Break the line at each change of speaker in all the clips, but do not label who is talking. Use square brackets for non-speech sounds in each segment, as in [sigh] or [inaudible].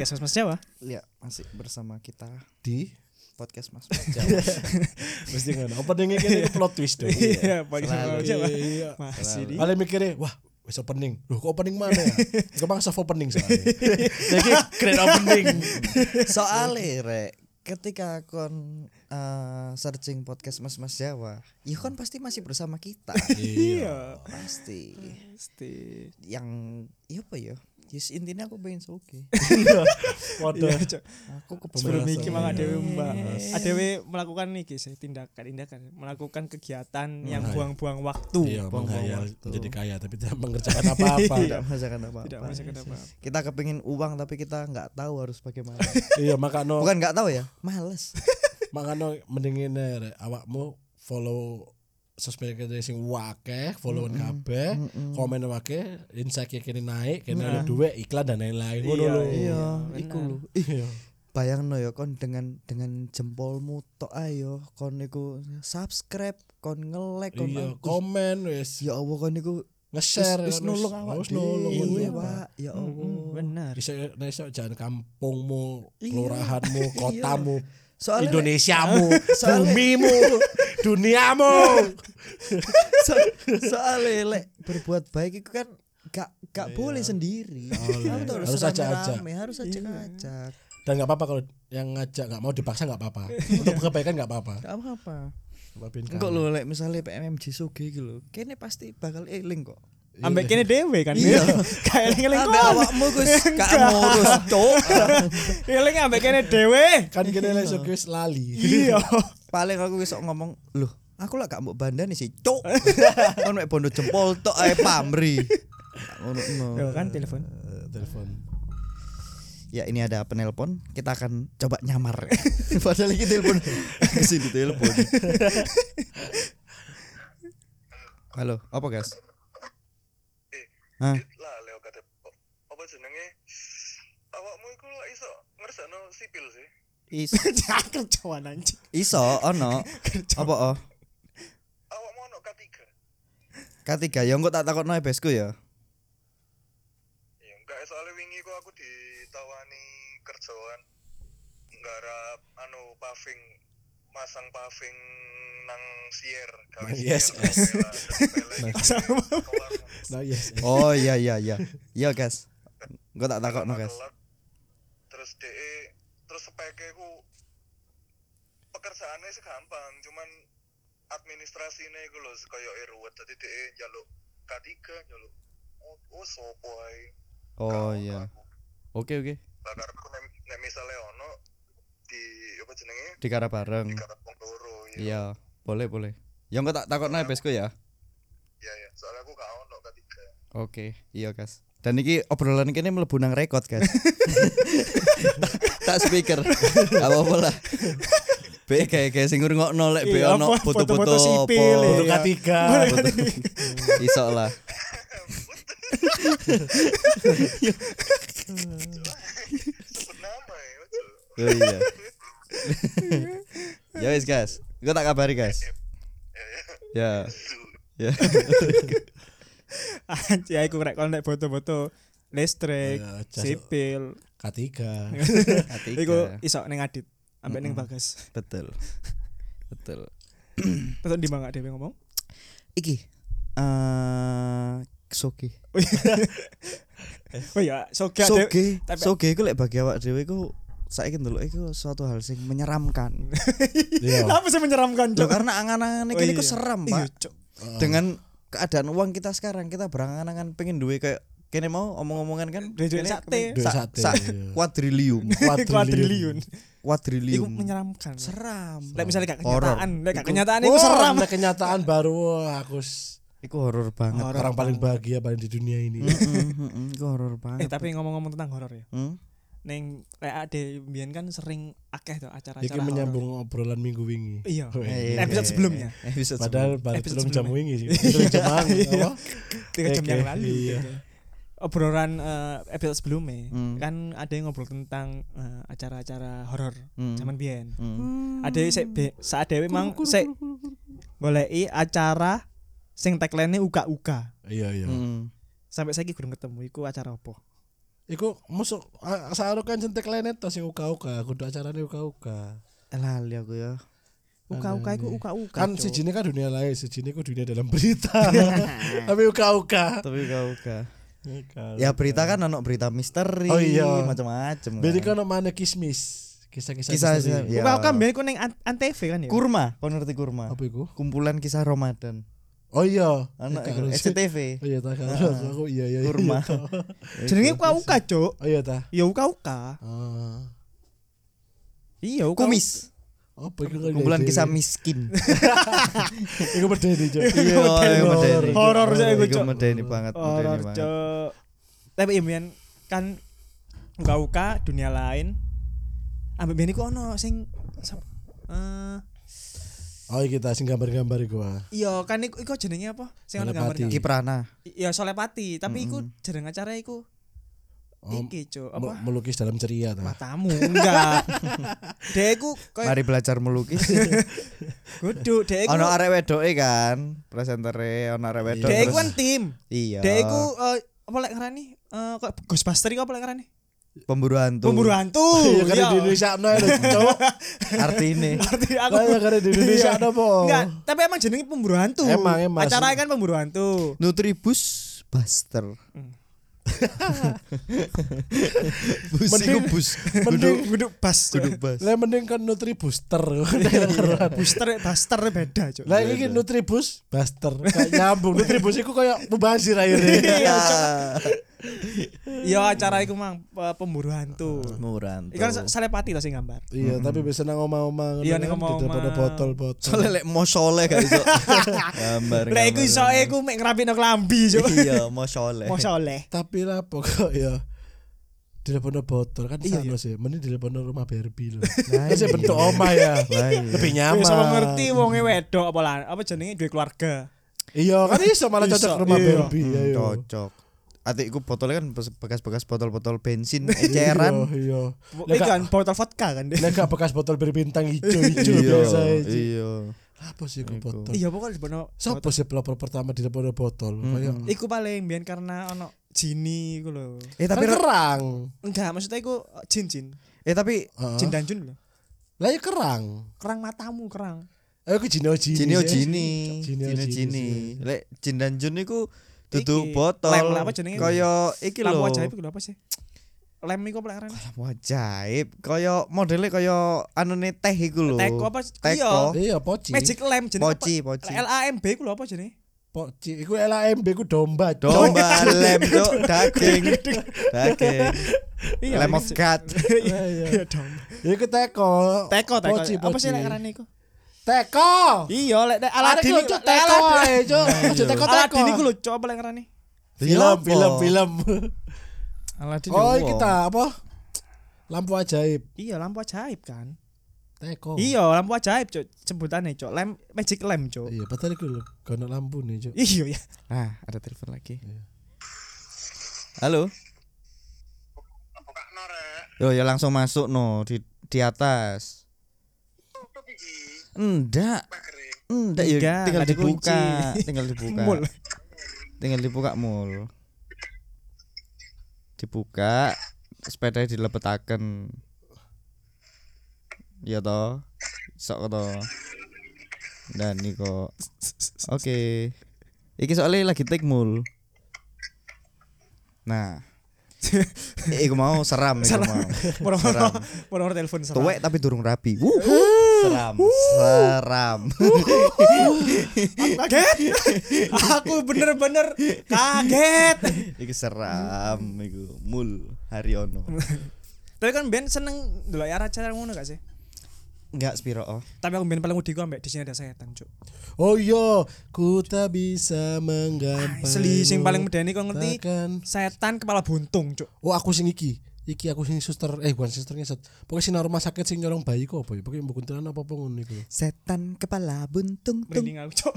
Mas Jawa.
Iya, masih bersama kita
di
podcast
[laughs]
Mas Mas Jawa.
mesti ngono openingnya kene iku plot twist dong
[laughs] Iya, Pak
Selalu.
Mas Jawa.
iya
Masih di.
Ale mikirnya wah wis opening loh kok opening mana ya kemang soft opening soalnya [laughs]
Jadi grand opening. Soale rek, ketika kon eh, searching podcast Mas Mas Jawa, ya kon pasti masih bersama kita.
[laughs] Iya.
pasti.
Pasti.
Yang ya apa ya? Yes, intinya aku pengen soge.
waduh
Iya, Cok. [laughs]
Aku
Sebelum
kebebasan.
iki mang adewe
Iya.
Mbak.
Yes.
Adewe melakukan iki sih tindakan tindakan melakukan kegiatan yang
Nah, iya.
buang-buang waktu.
iya
buang-buang
menghayal
waktu.
menjadi kaya tapi [laughs] tidak mengerjakan apa-apa
Iya.
Tidak merasakan apa-apa.
Tidak merasakan apa-apa.
Kita kepingin uang tapi kita nggak tahu harus bagaimana.
Oh.
iya makano
Bukan nggak tahu ya, males.
makano mendingin eh, awakmu follow sosmed kita sing wakeh followan
Eh?
kabeh komen wakeh insight kene naik kene ada duit iklan dan lain-lain ngono
Iya,
lho
iya,
Iya,
bener.
iku lho.
iya
bayangno ya kon dengan dengan jempolmu tok ayo kon niku subscribe kon nge-like kon
iya
Ih,
komen Iya. wis
ya Allah kon niku
nge-share ya,
wis nulung awak
wis nulung
dhewe,
iya, Pak. Nah,
Pak ya Allah
Benar.
bisa bisa jalan kampungmu
[laughs]
kelurahanmu kotamu
Iya. soalnya [laughs]
Indonesiamu
Soalnya- [laughs]
bumimu duniamu
so, soalnya lek berbuat baik itu kan gak gak boleh sendiri Kamu tuh
Iya. Oh, Harus Iya. ajak-ajak.
rame-rame, harus ajak-ajak
dan nggak apa-apa kalau yang ngajak nggak mau dipaksa nggak
[laughs]
apa-apa untuk kebaikan nggak apa-apa
gak apa-apa
Maafin kamu.
enggak lho lek misalnya PMMJ Soge gitu lho kene pasti bakal eling kok
Ambek kene dewe kan.
Iya.
[laughs] Kayak eling-eling
Ambek awakmu
[laughs]
Gus gak
Enggak.
ngurus
[laughs]
cok
Eling ambek kene dewe.
kan gini lah sukses lali
Iya.
paling aku bisa ngomong loh aku lah gak mau bandani sih
[laughs]
cok kan mek bondo jempol tok ae pamri ngono no.
Yo kan telepon.
Eh, telepon
ya ini ada penelpon kita akan coba nyamar [laughs] padahal lagi telepon
[laughs]
kesini telepon halo apa guys Hah?
lah leo kate apa jenenge awakmu iku lak iso ngersakno sipil sih
Is
Cak kerjaan anjing.
iso
[laughs]
ono apa oh
awakmu ono ketiga
ketiga ya engko tak takokno e besku ya
ya enggak soalnya wingi kok aku ditawani kerjaan nggarap anu paving masang paving nang
[laughs]
sier gawe
Nang yes, yes. [laughs]
Pasang
[laughs] nah yes
oh iya iya iya iya guys engko tak takokno guys
terus de terus sepeke ku pekerjaannya sih gampang cuman administrasinya iku lho kaya ruwet jadi de njaluk K3 njaluk oh, oh sopo ae
oh
Gak ono
iya
aku.
oke oke
Lah karepku nek nek misale ono di apa jenenge
dikara bareng
di karep wong loro ya.
Hmm. Iya, boleh boleh. Ya enggak tak takut naik besku ya.
Iya ya, soalnya aku gak ono ketiga.
Oke, iya guys. Dan iki obrolan kini mlebu nang rekod
[laughs]
guys. tak speaker. Gak apa-apa lah. Be kayak kayak sing ngrungokno lek be
Iya,
ono
apa,
foto-foto
foto-foto sipil,
apa.
untuk
iya.
ketiga
Foto- Iso lah.
Bernama ya, ojo.
Oh iya. ya wis guys. Gue tak kabari guys. Ya. Ya.
[laughs] Anjing aku rek kon nek foto-foto listrik,
Iya, jas-
sipil.
ketiga
Iku
Ketiga.
iso ning Adit, ambek ning Bagas. [laughs]
Betul. Betul.
Terus di mana dewe
[laughs]
ngomong?
Iki eh Soki.
Oh ya, soga dewe.
Eh. soge
tapi- [laughs]
soge iku lek bagi awak dhewe iku saiki ndelok iku suatu hal sing menyeramkan.
iya
Apa sih menyeramkan, Cok?
Loh karena angan-angan
Oh,
iki iku
iya.
serem,
Iya,
Pak.
Cok.
Dengan keadaan uang kita sekarang kita berangan-angan pengen duwe kayak kene mau omong-omongan kan
Duwe duit
kene
sate.
kepen- sa-
Duit sate,
sa-
iya. [laughs]
kuadrilium
Kuadriliun. Iku
kuadrilium
menyeramkan.
seram
Lek misalnya gak
Horor.
kenyataan, lek gak
Iku-
kenyataan
Wah,
iku seram.
ada kenyataan baru wah, aku s-
iku horor banget
Horor.
orang paling bahagia paling di dunia ini
Mm, mm, mm, iku horor
Eh,
banget
tapi ngomong-ngomong tentang horor ya.
Hmm?
Neng lek ade mbiyen kan sering akeh tuh acara-acara.
Iki
horor.
menyambung obrolan minggu wingi
Iya.
Weh.
Eh,
Episode sebelumnya.
episode
Padahal baru
Episode
belum jam
sebelumnya.
wingi sih. Belum jam ya wangi,
Iya.
apa?
tiga jam
Oke,
yang lalu
iya.
gitu. obrolan eh, episode sebelumnya
Hmm.
kan ada yang ngobrol tentang eh, acara-acara horor
Hmm.
zaman biyen
Hmm.
ada yang sek be- saat dewi mang sek goleki acara sing tagline uka uka
Iya iya.
Mm.
sampai saya kurang ketemu iku acara apa
Iku musuh saru kan jentik lenet to sing uga-uga, kudu acarane uga-uga.
Lali aku ya.
Uka-uka iku uka-uka.
Kan
Cuk.
sijine kan dunia lain, sijine ku dunia dalam berita. Tapi uga-uga.
Tapi kau ka. Ya berita kan anak berita misteri,
Oh, iya.
macam-macam.
Berarti
kan.
kan mana kismis, kisah-kisah.
Kisah-
misteri.
iya.
Uka-uka mbiyen iku ning An- Antv kan ya.
kurma, kau ngerti kurma?
Apa ya? iku?
Kumpulan kisah Ramadan.
Oh iya.
Anak
Eh,
iku,
karo-
SCTV.
Oh iya ta karo aku iya iya. iya,
Kurma.
iya, ta.
Jenenge uka-uka, Cuk.
Oh iya ta.
Ya uka-uka.
Ah.
Iya, uka.
Kumis.
Apa iku kan
Kumpulan
ide?
kisah miskin.
Iku medeni Cuk.
Iya,
Medeni.
medeni.
Horor saya iku,
Iku
Cuk.
medeni banget, medeni
Horor,
banget.
Cuk. Tapi iya, mbiyen kan uka-uka dunia lain. Ambek mbiyen iku ono sing sap- eh,
Oh iya kita sing gambar-gambar iku ah.
Iya, kan iku iku jenenge apa? Sing ono
Telepati.
gambarnya.
Kiprana.
Iya, Solepati, tapi iku jeneng acara iku
Oh,
iki, Cuk. Apa?
Mel- Oh, Melukis dalam ceria ta. [laughs]
Matamu
[laughs]
enggak. Dek iku koyo
Mari belajar melukis.
Kudu dek iku.
ono arek wedoke kan, presentere ono arek wedok.
Dek iku
terus-
kan tim.
Iya.
Dek iku eh, apa lek ngarani? Eh kok Ghostbuster iku apa lek ngarani?
pemburu hantu.
Pemburu
[laughs]
hantu.
Iya kan di
Iya.
Indonesia no Cuk.
Artine.
Berarti aku
Lah, iya kan di Indonesia
Iya.
no po.
Enggak, tapi emang jenenge pemburu hantu.
Emang, emang.
Acara kan pemburu hantu.
Nutribus Buster. bus
Mending-
iku bus.
Mending kudu bas.
Kudu bus.
Lah mending kan Nutri
[laughs]
Booster.
Booster, buster beda, Cuk.
Lah iki Nutribus Buster. Kayak nyambung. Nutribus iku kayak mubazir akhirnya.
[laughs] Iya, Cuk. Iya, acara iku mang pe- pemburu hantu.
Murah.
Iku kan Solepati lah sing gambar.
Iya, tapi biasa nang oma-oma ngono
Hmm. Iya,
kan,
nang oma-oma.
ditelepon botol-botol.
Soalnya lek mau soleh gak iso. [laughs] Gambar.
Lah iku iso
iya.
iku mek ngrapino klambi, Cuk.
Iya, mau soleh.
Mau soleh.
tapi lah pokok ya dilepono botol kan iya, sano sih mending dilepono rumah Barbie loh nah,
iya.
sih bentuk oma ya lebih nyaman
Wis apa Iya, ngerti wonge wedok apa lan apa jenenge duwe keluarga.
iya kan iso malah cocok
Iso,
rumah
iya.
Barbie ya iya.
Cocok. Ati iku botolnya kan bes- bekas-bekas botol-botol bensin
iya
eceran.
iya Lah,
Itu
gak-
kan botol vodka kan deh.
lah gak bekas botol berbintang
[laughs]
hijau-hijau biasa aja.
Iya.
apa sih itu botol
Iya pokoknya dibono.
siapa sih pelopor pertama dilepono botol kayak
Iku paling biyen karena ono jini iku lho.
Eh
tapi
tapi
kerang
Enggak, maksudnya iku jin jin.
eh tapi
Jin dan jun lho.
lah ya kerang
Kerang matamu kerang.
eh aku jino jini
Jini
sih.
Jini.
Jini
Jini oh
Jini
Jini. Lek Jin dan Jun niku dudu
Iki,
botol.
lem lah apa jenenge?
Kaya iki lho.
Lampu ajaib iku lho apa sih? Lem iku apa lek
Lampu ajaib. Kaya modele kaya anune teh iku lho.
Teko apa? Iya.
Teko.
iya poci
Magic lamp jenenge.
Poci, poci.
L A M B iku lho apa jenenge?
poci iku LAMB ku domba Cok.
Domba lem cuk daging. Daging. Lem of God.
Iya, iya.
Iya dong.
Ya iku teko.
Teko teko.
Poci,
Apa sih
poci.
lek ngarane iku?
Teko.
Iya lek lek
Arek
Aladin
lu,
iku-
Cuk,
lek
teko
Aladin-
ae, Cuk. Cuk, teko teko.
Aladin iku lho Cuk, apa lek ngarane?
Film, film, film.
oh.
Aladin
Oh, iki ta apa? Lampu ajaib. Eh,
Iya lampu ajaib kan.
Teko.
Iya lampu ajaib cok sebutannya cok lem magic lamp cok.
Iya, padahal iku lho, gak ono lampu nih, Cuk.
Iya ya.
Nah, ada telepon lagi. Halo.
buka norek
Yo ya langsung masuk no di di atas.
tutup iki
Enggak.
pakere
Enggak ya
Enggak,
tinggal
nggak ada
dibuka,
kunci.
tinggal dibuka.
Mul. [laughs]
tinggal dibuka mul. Dibuka, sepeda dilepetaken. Ya toh. Sok toh. Dan niko. Oke. Iki soalnya lagi take mul. Nah. Eh, Iku mau seram iku [laughs] mau.
Moro-moro moro-moro telepon seram.
Tuwek tapi durung rapi. Wuh. Seram, seram.
Kaget. Aku bener-bener kaget.
Iki seram iku mul Haryono.
Tapi kan Ben seneng dulu ya acara ngono gak sih?
Enggak Spiro. oh.
Tapi aku Ben paling wedi ku ambek di sini ada setan Nah, cok.
Oh iya, ku tak bisa menggapai.
Asli sing paling medeni kau ngerti
Takkan.
setan kepala buntung cok.
Oh, aku sing iki. Iki aku sing suster, eh bukan suster ngeset. Pokoknya sinar rumah sakit sing nyolong bayi kok apa ya? Pokoknya mbok kuntilan apa apa ngono iku.
Setan kepala buntung tung.
Merinding aku cok.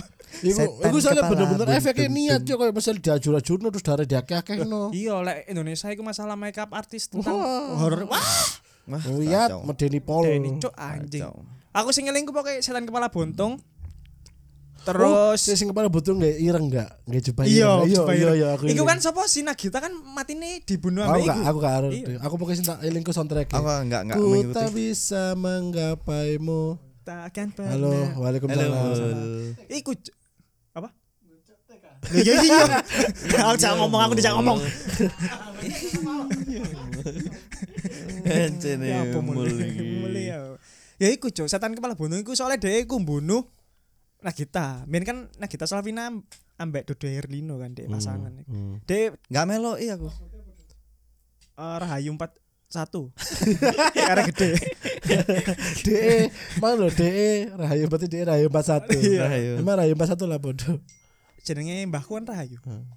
Iku,
Setan
iku soalnya
kepala
bener-bener efeknya
buntung-tung.
niat Cuk, kayak misal diajur-ajurno terus darah diakeh-akeh
[laughs]
no.
Iya lek Indonesia iku masalah makeup artis tentang horor. Wah.
Wah,
Lihat
kacau.
Oh, iya, medeni pol.
Deni cok anjing. Aku sing ngeling ku pokoke setan kepala buntung. Terus
Oh, sing kepala butuh nggak ireng nggak nggak jubah
iya,
ireng. iya
Jubair.
iya iya aku
Iku
iling.
kan sapa sih Nagita kan matine dibunuh sama
aku gak
iku.
aku gak harus
Iya.
aku pokoknya cinta eh, ilingku soundtrack
Aku enggak enggak
ku
mengikuti.
tak bisa menggapaimu
Takkan pernah.
halo waalaikumsalam
Iku j- apa? Loh, Iya iya. iya.
[laughs]
Aku jangan ngomong, aku tidak
[laughs]
ngomong.
Encene
Ya apa [laughs] mulai? Mulai ya. Ya iku Cuk, setan kepala bunuh iku soalnya dia iku bunuh Nagita. Main kan Nagita Slavina ambek Dodo Herlino kan dia pasangan.
hmm.
Dia
Enggak melo iya aku.
eh, Rahayu 41 [laughs] Karena gede.
DE E, mana lo DE Rahayu berarti DE E, Rahayu 41
Iya.
Rahayu.
emang Rahayu 41 lah bodoh
Jenenge mbahku kan Rahayu.
Hmm.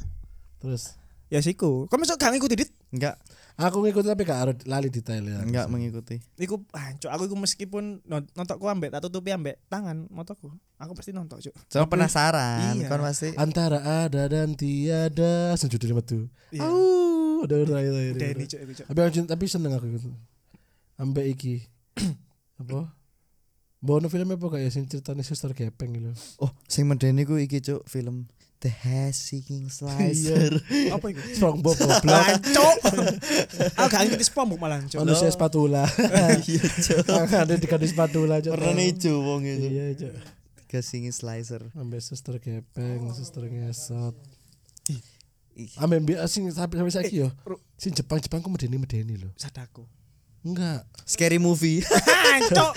terus
Ya siku. Kok masuk gak ngikuti dit?
Enggak
aku ngikut tapi gak harus lali detail ya
enggak mengikuti.
Iku hancur. Aku iku meskipun non- nontokku ambek tato tupi ambek tangan motoku. Aku pasti nontok, Cuk.
Cuma penasaran
Iya.
kan pasti.
antara ada dan tiada sujud di metu
Iya.
Auuu, udah udah udah, udah,
Deni,
udah.
Cuk, iku, Cuk.
tapi aku cinta- tapi seneng aku ikut ambek iki [clears throat] apa Bono film apa kayak sing ceritanya suster gepeng gitu.
Oh, sing medeni ku iki cuk film The Hashing Slicer.
Apa
[laughs]
iku?
Strong
[laughs]
Bob goblok.
Lancuk. [laughs] Aku gak ngikuti spam Buk, malah, Cuk.
Manusia spatula.
[laughs] Iya cuk.
Ada di kado spatula aja.
Warna hijau wong itu.
Iya aja.
The Hashing Slicer.
Ambil suster gepeng, suster ngesot.
Ih.
Ambil bi sing sampai sampai saiki yo.
Ru-
Sing Jepang Jepang ku medeni medeni lho.
Sadaku. [laughs]
Enggak.
[laughs] Scary movie.
Hancok.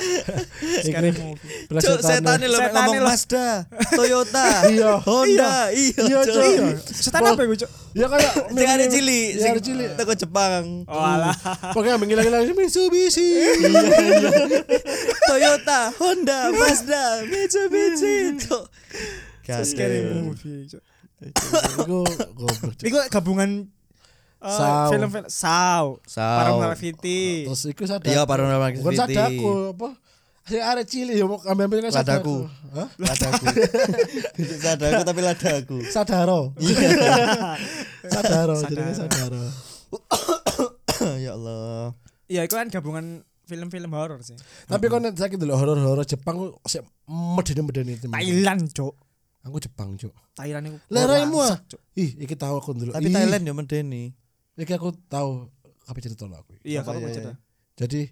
Sekarang
Iku-
mau.
Belas
Cuk, setan
setane.
lho mek
Setane
ngomong
lho.
Mazda, Toyota,
Iya.
Honda, iya,
Iya,
Cuk.
Cuk.
Iya.
Setan apa iku, Cuk?
Ya kayak
[laughs] Sing ada cili,
Ya,
sing
ada cili.
teko Jepang.
Oh [laughs] alah.
Pokoknya ambil ngilang-ngilang
[laughs]
Mitsubishi.
Toyota, Honda, Mazda, Mitsubishi. Cuk.
Scary
Gatel.
movie, Cuk.
Iku goblok. Cuk.
Iku gabungan eh,
Saw. Oh,
film-film Saw,
Saw.
Paranormal Activity.
Terus iku sadar.
Iya, paranormal
Bukan
activity.
sadaku apa? Sing arek cilik ya mau ambil
Ladaku.
kan sadaku. Hah?
[laughs] Ladaku. Gede Sadaku tapi ladaku.
[laughs] Sadaro. Sadaro, jenenge sadaro.
ya Allah.
Ya iku kan gabungan film-film horor sih.
Tapi kon nek saiki delok horor-horor Jepang ku sik medeni-medeni itu.
Thailand, Cuk.
Aku Jepang, Cuk. Lah,
Thailand iku.
raimu
bangsat,
ah.
Cuk.
Ih, iki tahu aku dulu.
Tapi Thailand ya medeni.
Iki aku tahu kabeh cerita lo aku.
Iya,
Apa,
kalau
iya,
cerita.
Jadi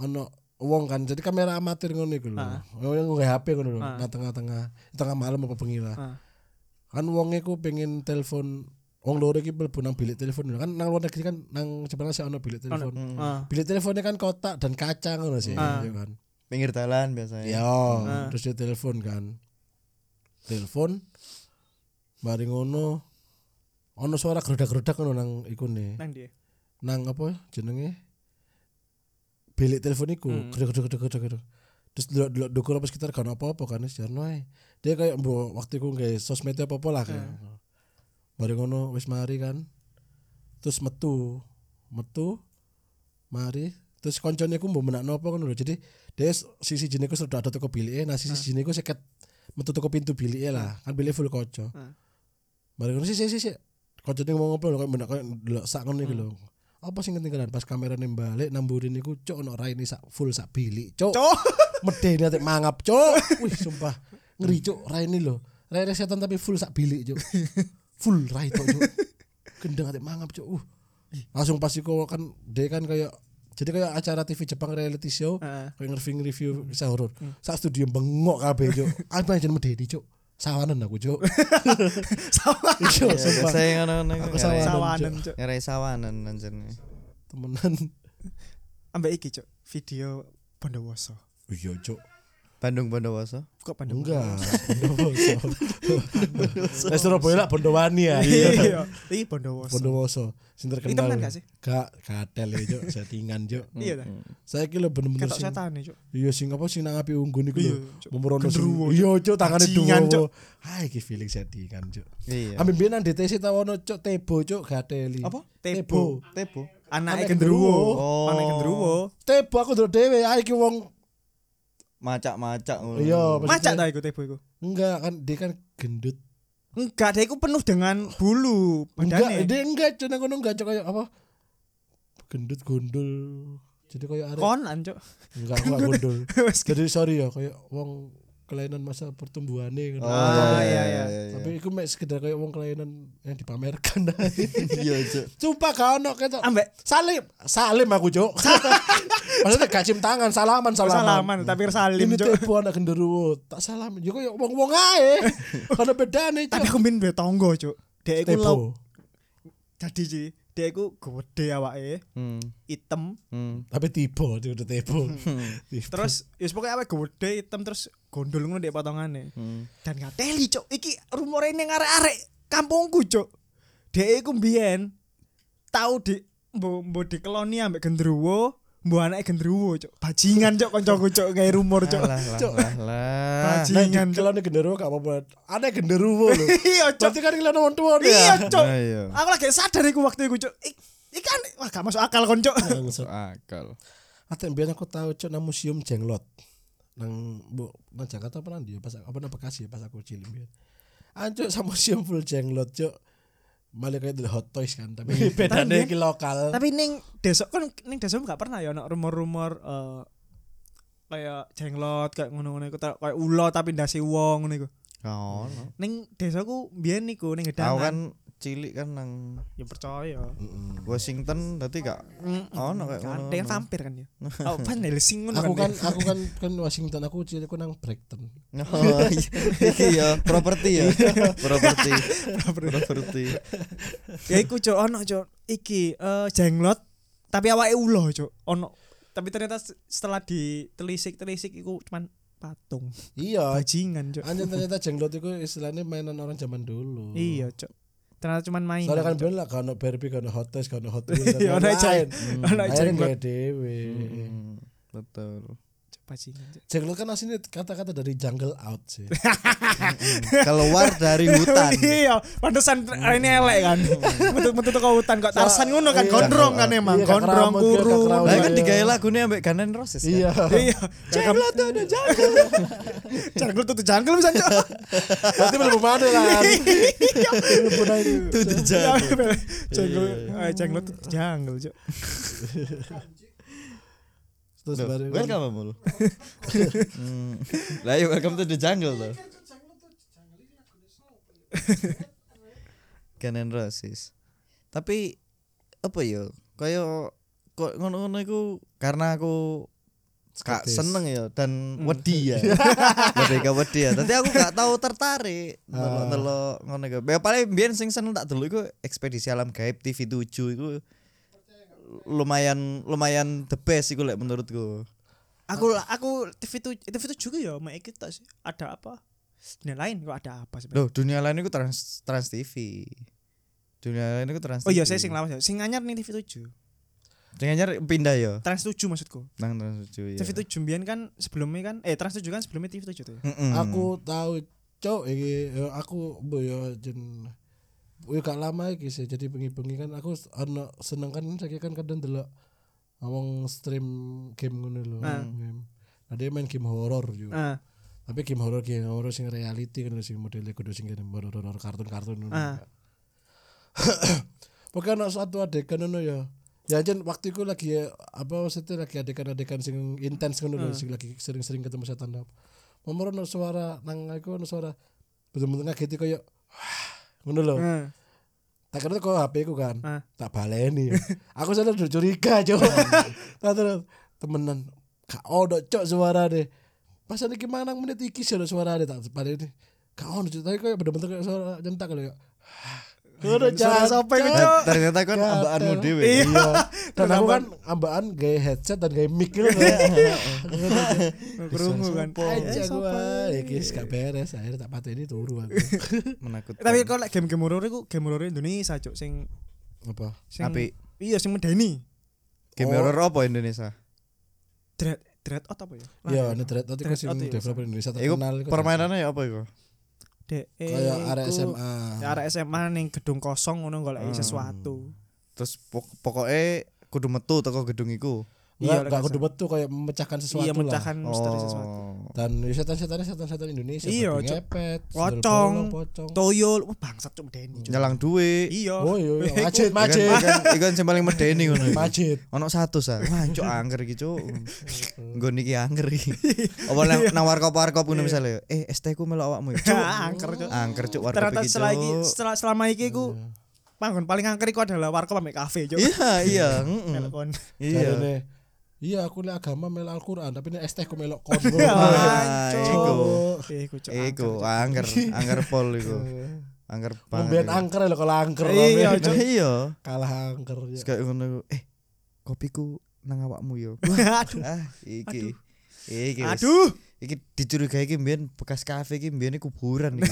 ono wong kan jadi kamera amatir ngono iku lho. Wong nggo HP ngono lho,
Ah.
nah tengah-tengah tengah malam apa bengi lah.
Ah.
Kan wong iku pengen telepon wong loro iki mlebu nang bilik telepon lho. Kan nang luar negeri kan nang Jepang sih ono mm. bilik telepon.
Ah.
Bilik teleponnya kan kotak dan kaca ngono sih, ya kan.
Pinggir jalan biasanya.
Ya, terus dia telepon kan. Telepon mari ngono ono suara gerudak-gerudak ngono nang iku nih.
Nang dia.
Nang apa jenenge? Bilik telepon iku, gerudak gerudak gerudak gerudak. Terus delok delok dukur apa sekitar kan apa-apa kan wis jarno ae. Dia kayak mbok waktu iku nggak sosmed apa-apa lah kayak. Mari ngono wis mari kan. Terus metu, metu mari terus koncone ku mbok menakno apa ngono lho. Jadi dia s- sisi jine ku sudah ada toko bilike, nah sisi jine ku seket metu toko pintu bilike lah. Kan bilike full koco.
Hmm.
Mari ngono sih sih sih. sih. Koncone ngomong apa lho kayak menak kayak ndelok sak ngono iku lho. Apa sing ketinggalan pas kamerane balik namburin iku cuk ono raine sak full sak bilik cuk.
Cuk.
Medeni atik mangap cuk. Wih sumpah ngeri cuk raine lho. Raine setan tapi full sak bilik cuk. Full rai tok cuk. Gendeng atik mangap cuk. Uh. Langsung pas iku kan dia kan kayak jadi kayak acara TV Jepang reality show
Heeh. Hmm.
kayak nge review kisah horor. Sak studio bengok kabeh cuk. Apa jeneng medeni cuk. Sawanan aku
[laughs]
cuk.
Sama
Cuk sumpah.
Saya Iya, ngono-ngono.
Aku sawanan,
sawanan, Cuk.
Ngerai sawanan anjene.
Temenan.
Ambek iki, Cuk. Video Bondowoso.
Iya cuk.
Bandung Bondowoso.
Kok Bondowoso?
Enggak. [laughs] Bondowoso. Nah, Surabaya lah Bondowani ya.
[laughs] Iya. Iki Bondowoso.
Bondowoso. Sing
Ini temenan
terkenal.
gak sih?
Gak kadel ya cuk, settingan cuk.
Iya ta.
Saya kira bener-bener
Ketok
sing
setan Cuk.
Iya sing apa sing nang api unggun iku lho.
Iya, Cuk.
Memerono
Genderuwo,
sing. Iya cuk tangane
Bajingan, Cuk.
duwo. Ha iki feeling settingan cuk.
Iya.
Ambil biyen nang DTC tawono cuk tebo cuk gateli.
Apa?
Tebo.
Tebo.
Tebo.
Anake
Anak
gendruwo.
gendruwo.
Anake gendruwo.
Tebo aku ndelok dhewe ha iki wong
Macak-macak ngono. Ah,
Iya, maksudnya-
Macak ta iku Tebo iku?
enggak kan dia kan gendut.
Enggak, dia iku penuh dengan bulu
Enggak,
badane.
dia enggak cuk nang kono enggak cuk kayak apa? Gendut gondol. Jadi kayak arek
Konan, Cuk. [laughs]
enggak enggak gondol.
Wes,
Jadi sorry ya kayak wong kelainan masa pertumbuhannya kan.
Ah, iya, iya.
Tapi iku mek sekedar kayak wong kelainan yang dipamerkan. [laughs]
[laughs] Iya, Cuk.
Sumpah gak ono ketok.
Ambek
Salim, salim aku,
[laughs]
Cuk. Maksudnya gak cium tangan, salaman, salaman.
salaman tapi salim
Ini
cuk.
tipu anak genderuwo, tak salam. Yo koyo wong-wong
[laughs]
ae. Ono bedane,
Tapi
Cuk.
aku min be tonggo cuk. Dek iku
Tepo.
lau dadi sih. Dek iku gede awake,
Hmm.
item,
Hmm.
Tapi tipu, Cuk, udah tipu.
Hmm.
Tipu.
terus ya pokoknya awake gede item terus gondol ngono dek potongane.
Hmm.
Dan gak teli cuk. Iki rumore ning arek-arek kampungku cuk. Dek iku mbiyen tau di mbo mbo dikeloni ambek gendruwo, mbo anake gendruwo cuk. Bajingan cuk kancaku cuk gawe rumor cuk.
Alah, lah, lah, lah.
Bajingan cuk.
Kalau nih genderuwo gak apa-apa. Ada genderuwo lho.
[laughs] Iya cuk.
Berarti kan kelihatan orang tua dia.
Iya cuk.
Ayo.
Aku lagi sadar iku waktu iku cuk. Ik- Ikan wah gak masuk akal kon
[laughs]
cuk.
Bangsat.
Akal.
Ate mbiyen aku tahu cok nang museum jenglot. Nang bu nang Jakarta apa nang dia pas apa nang Bekasi ya, pas aku cilik mbiyen. Ancuk sama museum full jenglot cok. Malah kayak dulu hot toys kan tapi bedanya
Tapi-
iki lokal.
Tapi ning desa kan ning desa gak pernah ya ana rumor-rumor eh kayak jenglot kayak ngono-ngono iku ta- kayak ulo tapi ndase wong ngono iku.
Oh, no.
Ning desaku biyen niku ning
Aku
gedangan.
kan cilik kan nang
Ya percaya.
Washington berarti gak ono kayak
Kan
ngono.
dia kan vampir kan ya. Oh, Van Helsing ngono
aku
kan.
kan aku kan kan Washington aku cilik aku nang Brighton.
Oh, iya. Iki ya properti ya. Properti. Properti.
dia. Ya iku cok ono cok iki eh jenglot tapi awake ulo cok ono. Tapi ternyata se- setelah ditelisik-telisik iku cuman patung.
Iya.
Bajingan cok.
Anjir ternyata jenglot itu istilahnya mainan orang zaman dulu.
Iya cok. Ternyata cuman main.
Soalnya kan bilang lah kalau Barbie kalau hot toys kalau hot wheels
Iya, ono jeng- ono jenglot.
jenglot dewe.
Hmm, Betul.
Bajingan cok.
Jenglot kan aslinya kata-kata dari jungle out sih.
Keluar dari hutan.
[laughs] iya, pantesan ini elek kan. Metu-metu toko hutan kok Tarsan ngono kan
Hmm. Iya.
gondrong kan emang,
Iya,
gondrong
kekeramut,
kurung.
kekeramut.
Lah kan
Iya.
digawe lagune ambek Guns N' Roses kan?
Iya.
Iya, jungle tuh ada jungle. [laughs] jungle tuh jungle bisa cok.
[laughs] Berarti belum ada lah. Belum ada Iya, itu.
Itu the
[laughs]
jungle.
Jungle, eh, jungle tuh jungle cok.
Terus
Loh,
baru
Welcome mulu. Hmm. Lah yuk welcome to the jungle tuh. Guns N' Roses. Tapi apa ya? Kayak kok ngono-ngono iku karena aku gak
Skeptis.
seneng ya dan wedi ya. [laughs] Lebih ke wedi ya. Tapi aku gak tahu tertarik ndelok-ndelok ngono iku. Ya paling biyen sing seneng tak delok iku ekspedisi alam gaib TV7 iku lumayan lumayan the best iku lek menurutku.
Aku aku TV itu TV itu juga ya, mak kita sih. Ada apa? Dunia lain kok ada apa sih?
Loh, dunia lain itu trans trans TV. Dunia lain itu trans.
Oh iya,
TV.
saya sing lawas ya. Sing anyar nih TV 7.
Dengan nyari pindah ya.
Trans 7 maksudku.
Nang trans tujuh. ya.
Iya.
TV 7 mbiyen kan sebelumnya kan eh Trans 7 kan sebelumnya TV 7 tuh. ya.
Mm-mm.
aku tahu cok iki eh, aku bu yo jen Wih gak lama iki sih jadi bengi-bengi kan aku s- ono seneng kan saya kan kadang delok ngomong stream game ngono lho. Game. Nah dia main game horor juga.
Ah,
Tapi game horor game horor sing reality kan sing modelnya kudu sing game horor horor kartun-kartun ngono.
Ah.
[coughs] Pokoknya ono suatu adegan ngono ya. Ya jen waktu itu lagi ya, apa maksudnya lagi adegan-adegan sing intens ngono lho sing lagi sering-sering ketemu setan tanda. Momor ono suara nang aku ono suara betul-betul ngageti koyo [sighs] ngono lho.
ah.
Tak kira kok HP ku kan.
Ah. Iya.
Tak
[laughs]
baleni. aku sadar udah curiga, Cok. tak terus temenan gak ono cok suara deh. Pas ada gimana menit iki sih ada suara deh tak baleni. Gak ono cok, tapi kayak bener-bener kayak suara jentak kali ya.
Suara
Udah jangan
Iya. sampai
Cok.
gitu.
Nah, ternyata kan
Gatel.
ambaanmu dhewe.
Iya. [laughs]
Iya. Dan aku kan ambaan gaya headset dan gaya mic gitu.
Iya. [laughs] Kerungu kan.
Aja
Eh,
gua,
sopo?
ya guys gak beres. Akhirnya tak pateni turu
[laughs]
kan
aku.
Menakutkan.
Tapi kalau game game horor iku game horor Indonesia cuk sing
Apa?
sing
Apik.
Iya sing medeni.
game
Oh.
horror apa Indonesia?
Dread Dread Out apa ya? Nah,
Ya, ini dread nanti
Dread
kasih
Out, iya.
developer Indonesia
Iku
terkenal. iku
permainannya ya apa iku?
Dek.
kayak area
iku-
SMA.
E Ya, Arek SMA ning gedung
Hmm.
kosong ngono golek sesuatu.
Terus pok pokoknya kudu metu teko gedung iku.
Iya,
Enggak, enggak
rekasan.
kudu metu kayak memecahkan sesuatu
iya
lah.
mencahkan misteri sesuatu
Oh.
Dan ya setan-setannya setan-setan Indonesia
Iya,
babi
Cok.
ngepet, sundel
pocong
bolong, pocong.
toyol wah bangsat cuk deni cuk
Nyelang duit.
iya kan?
Oh
[laughs]
iya, iya.
Iku-
Macet,
Ikan
macet.
ikan ikan kan- sing paling medeni ngono. iku.
Macet.
Ono satu sa. Wah, cuk angker iki
[laughs]
cuk. Nggo niki angker iki.
Iya.
Apa nang nang warkop-warkop ngono misalnya, eh ST ku melok awakmu. Cuk.
[laughs] angker, Cuk.
Angker cuk warkop
ternyata
iki.
setelah iki
Cuk.
setelah selama iki ku
Iya.
panggon paling angker iku adalah warkop ambek kafe cuk
Iya, iya, mm-mm.
telepon
Iya.
Jarene, Iya, aku lek agama melu Al-Qur'an, tapi nek ST ku
[laughs]
melok kon.
Wah,
Wah,
Cuk.
iku.
Ya,
Iya.
iku cuk
Iku
[laughs]
angker, angker pol iku. Angker
Pembian
banget.
angker lho kalau angker.
Iya,
Romi.
Cok.
Nah, Iya.
[laughs] Kalah angker. ya.
Terus kayak ngono iku, eh kopiku nang awakmu
[laughs]
yo.
aduh
Ah, iki. Iki. wis.
aduh
Iki dicurigai iki mbiyen bekas kafe iki mbiyen kuburan
[laughs]
iki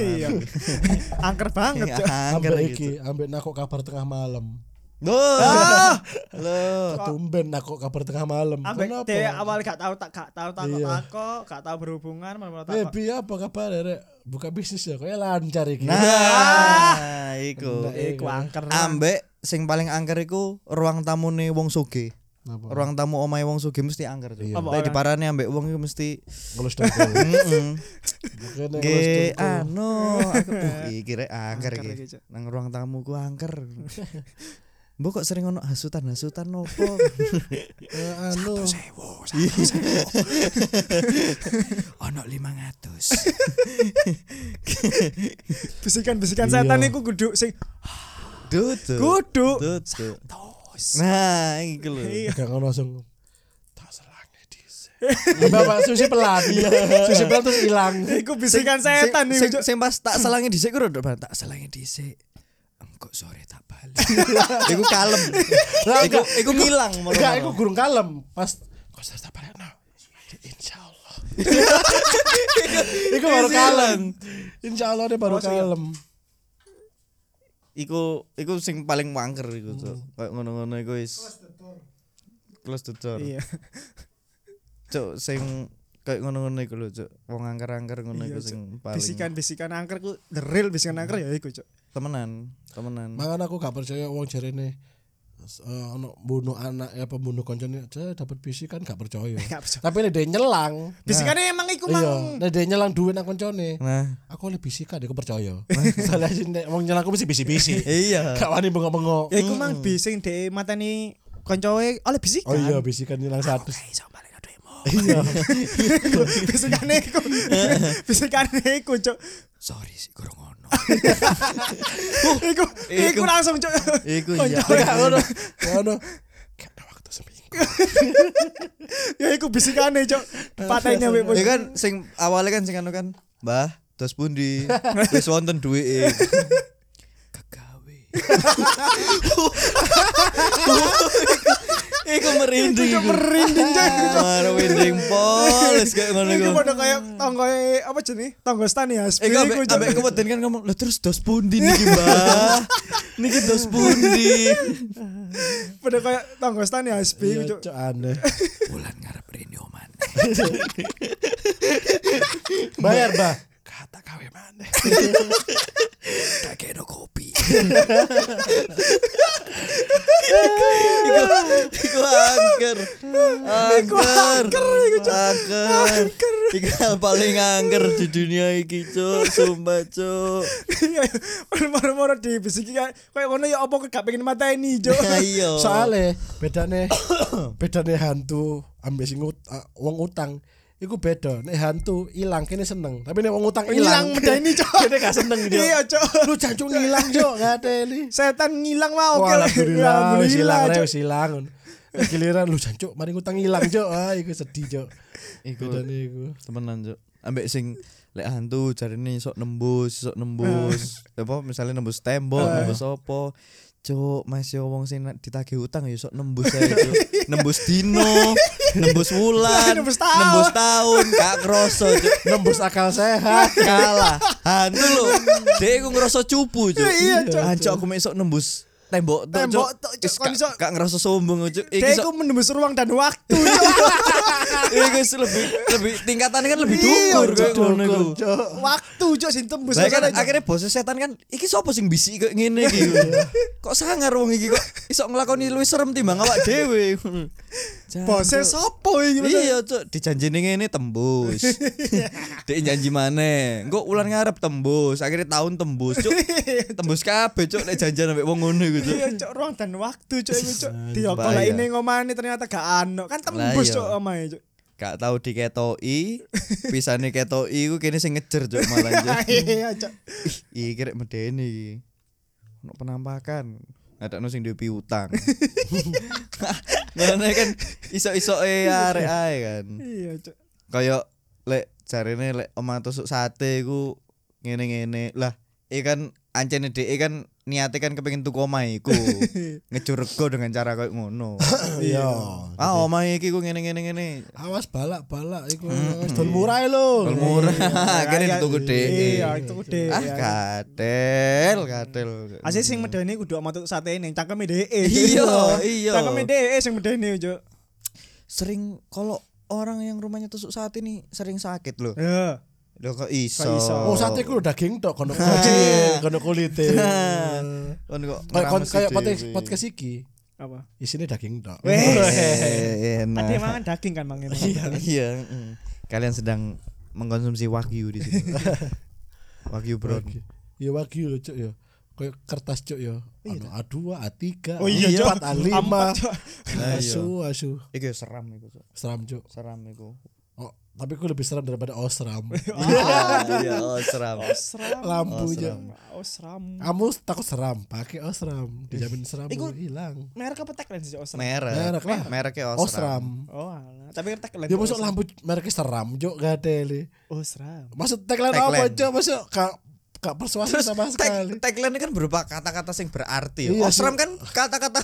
Iya.
sawangan.
angker banget
Iya.
cuk
[laughs] Angker
gitu.
Ambek
iki.
iki, ambek nakok kabar tengah malam.
Ah.
Loh. Loh.
Tumben nakok kabar tengah malam.
ambek
Kenapa?
dia awal gak tahu tak gak tahu tak
Iya.
takok gak tahu berhubungan malah
Eh,
takok
Bi, apa kabar, Rek? Buka bisnis ya, kayaknya lancar iki.
Nah, iku.
Eh, iku angker
Ambek sing paling angker iku ruang tamune wong sugih.
Napa?
Ruang tamu omahe wong sugih mesti angker. Cuk.
Iya.
Apa
Lek
orang-
diparani ambek wong iku mesti
Ngelus dengkul.
heeh.
Makanya ngelus
Ge
dengkul.
anu aku [laughs] uh, iki rek angker
Angker
iki.
iki, Cuk.
Nang ruang tamu ku [laughs] angker. Mbok kok sering ono hasutan-hasutan [laughs] nopo?
Eh, anu.
sewo
ono 500.
bisikan-bisikan
Iya.
setan iku kudu sing
Duduk.
kudu
Duduk.
tos
Nah, iki lho.
Iya.
Gak ngono langsung. Tak serangnya dhisik. [laughs] Bapak susi pelan. Susi pelan terus hilang.
iku bisikan setan
sing,
iku
sing,
cuk
sing pas [laughs] tak selangi dhisik ku rodok tak selangi dhisik. Engko sore tak balik. [laughs] iku [laughs] kalem.
Lah,
iku
enggak.
iku ngilang
Enggak, aku
moro-moro.
gurung kalem. Pas konser tak nah. balik no. Insya [laughs] Allah. Iku baru kalem. Insya Allah dia baru kalem.
Iku iku sing paling wangker iku cuk. Kayak ngono-ngono iku wis. Close the door.
iya
Cuk sing kayak ngono-ngono iku lho cuk. Wong angker-angker ngono
Iya,
iku
Cuk.
sing paling
bisikan-bisikan angker ku the real bisikan angker ya iku cuk
temenan, temenan.
Makanya aku gak percaya uang jari ini. eh, ono bunuh anak ya pembunuh koncone aja dapat bisikan kan gak [laughs] percaya.
Gak percaya.
Tapi nek dia nyelang.
bisikannya emang iku
Iya,
mang
nek dia nyelang duit nang koncone.
Nah,
Aku lebih bisikan aku percaya. Soalnya sih nek wong nyelang aku mesti bisi-bisi.
iya.
Gak wani bengok-bengok.
ya iku mang
Hmm.
bising dhek mateni koncoe oleh bisikan
Oh iya bisikan nyelang satu.
Hei, sama balik aduh emo. Bisikannya
[laughs]
iku. Bisikannya iku, Cuk.
Sorry sih kurang ngono.
Iku, iku
Iku.
langsung, Cuk.
Iku Oh, iya.
Koncoe.
Ngono. Kena waktu seminggu.
Ya iku bisikannya, Cuk. Patenya wek
[laughs] [laughs] Ya kan sing awalnya kan sing anu kan, Mbah, terus [laughs] pundi? Wis wonten duwike. Kegawe. [laughs] Iku merinding. Iku [laughs] merinding Merinding pol, wis kayak ngono
Iku
iku.
padha kaya tonggoe e, apa jenenge? Tonggo Stan ya.
Iku ambek ambek keweden kan ngomong, "Lah terus dos pundi niki, [laughs] Mbah?" Niki dos pundi.
Padha kaya tonggo Stan ya, Hasbi,
Iya,
Cuk.
cok aneh.
Bulan ngarep rene oman.
Bayar, Mbak.
Kata kawe maneh. Tak kena kopi. Iku iku angker. Angker. Angker. Iku hal paling angker di dunia iki, Cuk. Sumpah, Cuk.
[laughs] Iya. Moro-moro dibisiki kayak kaya ngono ya apa gak pengen mateni, Cuk.
Ayo.
Soale Oh. bedane bedane hantu ambek sing ut, uh, wong utang iku beda. Nek hantu ilang kene seneng, tapi nek wong
[laughs]
utang
Ngilang
ilang
medeni, Cuk.
kene gak seneng, Cok.
Iya, Cok.
[laughs] Lu jancuk ngilang, Cok, ngateli.
Setan ngilang mah oke. Ya,
Wah, alhamdulillah, wis ilang,
Cuk.
re, wis ilang. Nek Eh, Giliran lu jancuk mari utang ilang, Cok. Ah, iku sedih, Cok.
Iku
Bedane iku.
temenan cuk ambek sing lek hantu jarine sok nembus sok
[laughs]
nembus apa misalnya nembus tembok
Eh.
nembus apa cuk masih wong sing nak ditagih utang ya sok nembus ae
[laughs]
cuk nembus dino nembus wulan
Nembus tahun.
nembus tahun gak kroso cuk
Nembus akal sehat.
[laughs] kalah hantu lo dek ku ngerasa cupu cuk
Iya, Cuk.
Ah, Cuk, aku mesok nembus tembok tok
Tembok
cuk
tok, Cuk.
Is,
Kon
gak-
iso-
gak ngerasa sombong cuk iki
Dia
sok
iku menembus ruang dan waktu. Cuk.
[laughs] Iku wis lebih lebih tingkatannya kan lebih
Iya,
dukur kayak
Cuk.
ngono iku.
Cok.
Waktu cok sing tembus.
Lah kan
Cok.
akhirnya bosnya setan kan iki sapa sing bisik kok ngene iki. kok sangar wong iki kok iso nglakoni luwih serem timbang awak dhewe. Jan,
bose
Cuk.
sopo iki Mas?
Iya cuk, dijanjini ngene
[laughs]
tembus. Dek janji maneh. Engko ulan ngarep tembus, akhirnya tahun tembus,
[laughs]
cuk. Tembus kabeh cuk nek janjian ambek wong ngono iku cuk.
Iya cok ruang dan waktu cok iku cuk. Diokolah
bahaya.
ini ngomane ternyata gak ano. Kan
Lah,
tembus
iya.
cok omahe cok.
Gak tau diketoki, pisane ketoki iku kene sing ngejer cuk malah cuk.
[laughs] [laughs] Iya cok.
Ih, iki rek medeni iki. Ono penampakan. Ada sing duwe [laughs] piutang. Ngene kan iso-iso e arek ae kan.
Iya
[laughs]
cok.
Kayak lek jarene lek omah tusuk sate iku ngene-ngene. Lah, iki kan ancene dhek kan niate kan kepengin tuku omah [laughs] iku. Ngejur rego dengan cara koyo [laughs] ngono.
Iya.
Ah, omah iki ku ngene-ngene ngene.
Awas balak-balak iku.
Hmm.
Wis dol murah lho.
Dol murah. Kene
Iya,
ditunggu dhek.
Iya itu gede.
Ah, katel, katel.
Asih sing medeni kudu ama tutuk sate ning cangkeme dhek.
[laughs] Iya, iya.
Cangkeme dhek sing medeni cok.
sering kalau orang yang rumahnya tusuk sate nih sering sakit loh.
Iya.
Loh kok iso?
Kok iso?
Oh sate ku daging tok
[laughs]
kono kulit, kono kulite.
Kon Kan kok
Kayak kon-
ngerames
kayak
dhewe.
podcast podcast Iya, iki.
Apa?
Isine daging tok.
Eh, enak.
Ada mangan daging kan Mang. emang.
[laughs] Iya, iya. mm. Kalian sedang mengkonsumsi wagyu di
[laughs]
sini. wagyu bro.
Wagyu. Ya wagyu lho cuk ya. Kayak kertas cuk ya. Anu A2, A3,
Iya, Oh iya, Cuk.
A4, A5.
Empat, Cuk.
Nah, iya.
Asu, asu.
Iku ya seram iku, Cuk.
Seram cuk.
seram
[laughs]
iku.
Oh, tapi aku lebih seram daripada
[laughs]
osram.
Iya, oh, seram.
Seram.
Lampu cuk.
Oh, seram.
Kamu takut seram, pakai osram, dijamin seram oh, hilang.
Merek apa tagline sih Osram?
[laughs] Merek.
Merek lah.
Mereknya Osram.
Osram.
Oh, alah. tapi tagline. Oh,
Dia Ya, masuk lampu mereknya seram cuk gak ada li.
Osram.
Masuk tagline apa
Tagline.
cuk? Masuk kak kak persuasif sama sekali.
Tag, tagline kan berupa kata-kata sing berarti.
Iya,
Osram kan kata-kata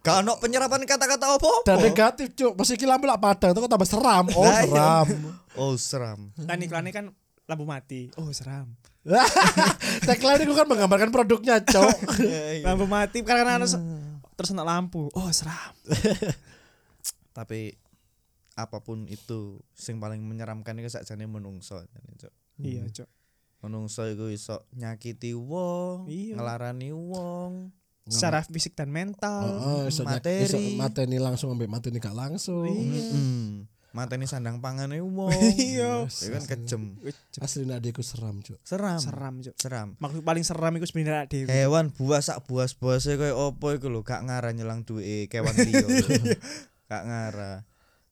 gak ono penyerapan kata-kata
Dan
apa-apa.
negatif cuk. Masih iki lampu lak padang tuh kok tambah seram.
Oh.
Oh
Lah, iya.
seram.
[laughs] Oh,
[laughs]
Osram.
Kan iklannya kan lampu mati. Oh, seram.
tagline itu kan menggambarkan produknya cuk.
Eh,
Iya.
iya.
Lampu mati karena ana se-
Hmm.
terus ana lampu. Oh, seram.
tapi apapun itu sing paling menyeramkan itu sakjane menungso jane, Cuk.
Iya,
Hmm.
Cok.
menungso iku iso nyakiti wong
Iya.
ngelarani wong
Secara fisik dan [laughs] mental.
Oh, iso nyak-
materi.
iso mateni langsung ambek mateni gak langsung.
mm. mateni sandang pangane wong
[laughs] Iya.
Ya kan kejem
Asline adekku seram, Cuk.
seram
Seram, Cuk.
seram
Maksud paling seram iku sebenarnya awake dhewe.
hewan buas sak buas buase koyo opo iku lho gak ngarah nyelang duwe kewan liya gak ngarah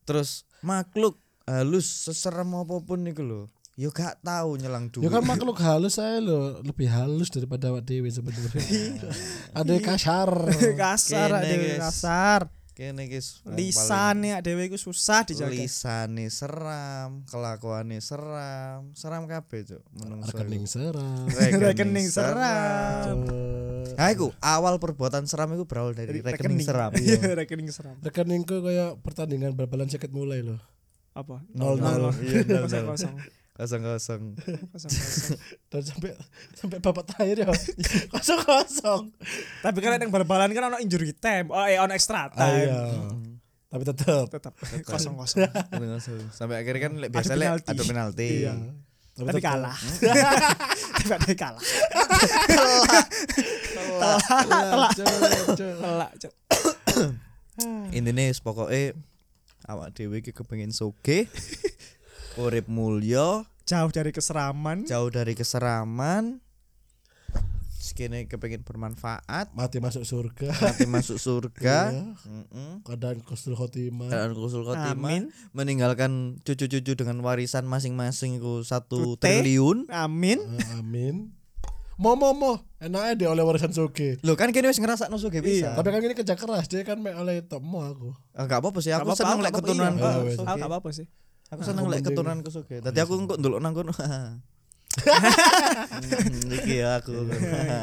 terus makhluk halus seserem apapun iku lho yo gak tahu nyelang duwe
Ya kan makhluk halus saya lo lebih halus daripada awak dewi sebenarnya. Ada kasar.
Iya. [laughs] Kasar, awake
Eh, Kene,
dhewe
guys.
kasar.
kene guys wong paling-
Lisane awake dhewe iku susah dijaga.
lisane seram, kelakuane seram, seram kabeh cuk menungso.
Rekening seram.
Rekening
[laughs] Rekening seram.
Oh, Ha iku awal perbuatan seram iku berawal dari rekening, seram.
Iya, rekening seram.
Rekeningku kayak pertandingan bal-balan sakit mulai loh.
Apa?
Nol, nol.
Iya, nol,
Kosong,
nol.
kosong.
Kosong-kosong.
Kosong, kosong.
Dan sampai sampai babak terakhir ya [laughs] kosong kosong.
Tapi kan yang bal-balan kan ono injury time, oh eh ono
Ah,
extra
iya.
time.
Ayo. Tapi tetap.
Tetap kosong-kosong.
Kosong-kosong. Sampai akhirnya kan lek biasa lek
penalti.
ada penalti.
Iya. Tapi
tetap.
kalah.
Hmm?
[laughs] Tapi ada yang kalah. Telak. Telak.
[laughs]
Telak. Cuk.
Intine wis pokoke awak dhewe iki kepengin
[laughs]
sugih, urip mulya,
Jauh dari keseraman.
jauh dari keseraman. Sekene kepengin bermanfaat,
Mati masuk surga.
nanti masuk surga.
Iya.
Mm-mm.
Keadaan khusnul khotimah.
keadaan Khusnul khotimah
Amin.
meninggalkan cucu-cucu dengan warisan masing-masing ku satu
Tute.
triliun
Amin.
Eh, Amin. Mo mo mo, enaknya dia oleh warisan soge.
lo kan kini wis ngerasa nusu gak bisa
Iya.
Tapi kan ini kerja keras, dia kan mek oleh temu aku.
Ah, gak apa-apa sih aku
Gak apa-apa,
seneng
gak
lek
apa-apa,
keturunan
iya.
kok,
Ah,
wis
wes.
Aku
oke.
gak apa-apa sih.
aku seneng lek keturunan ku soge tadi aku engko ndelok nang
[laughs]
kono Hmm, iki ya aku
Iya.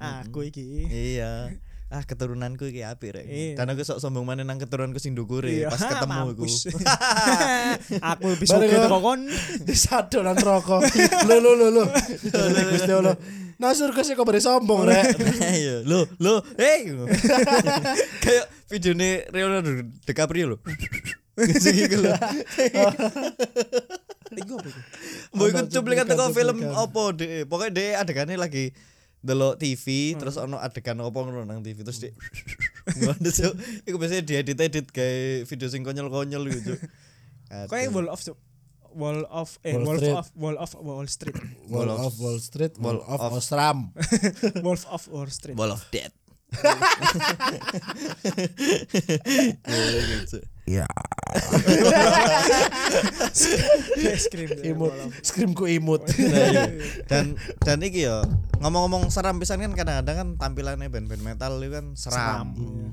Ah, [laughs] Aku iki.
iya ah keturunanku iki apik rek
Iya.
dan aku sok sombong maneh nang keturunanku sing ndukure
Iya,
pas
[laughs]
ketemu [laughs] iku
mampus. Aku bisa
Balik,
ke
Bang.
kokon.
Disado lan rokok. Lho lho lho lho. Jenenge Gusti Allah. Nah surga sih kok beri sombong rek.
Ayo, lo, [laughs] lo, hey, kayak video nih Leonardo DiCaprio lo. Sing gitu iku lho.
Iku apa iku?
Mbok iku cuplikan
Ono cuplikan,
teko film
cuplikan.
opo dhek. Pokoke dhek adegane lagi delok TV terus ono adegan opo ngono nang TV terus dhek [laughs] ngono Cuk. Iku biasanya diedit-edit kayak video sing konyol-konyol gitu. Cuk.
Kok yang wall off, Cuk? Wall off eh
Wall
wall
Street.
off wall off Wall Street.
Wall
Wall
of
of-
Wall Street, Wall
Wall
of
of-
Osram.
Wall of Wall Street. [laughs]
Wall of [laughs] Death.
Iya.
Dia Scream. dia,
Imut.
Wall of-
Screamku imut.
Nah, iya. dan dan iki ya ngomong-ngomong seram pisan kan kadang-kadang kan tampilannya band-band metal itu kan seram.
Iya.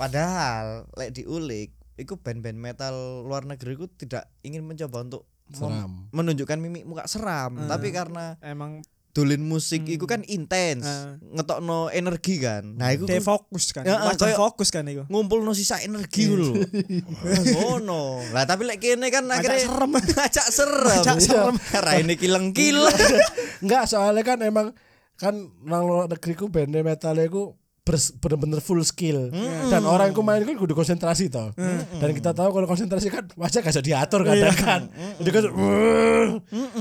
Padahal lek diulik iku band-band metal luar negeri itu tidak ingin mencoba untuk mem-
[laughs] Seram.
menunjukkan mimik muka seram, tapi karena
Emang
dolin musik itu kan intens,
Ah.
ngetokno energi kan. Nah, iku
dia fokus kan.
Ya,
Macam
kayak-
fokus kan iku.
ngumpul no sisa energi lho. Ngono. Lah tapi lek kene kan akhirnya [laughs]
serem.
Acak serem.
Acak serem.
Karena ini kileng-kileng.
Enggak, soalnya kan emang kan nang luar negeri ku band metalnya ku bers- bener-bener full skill dan orang yang ku main kan kudu konsentrasi toh dan kita tahu kalau konsentrasi kan wajah gak bisa diatur kadang kan jadi kan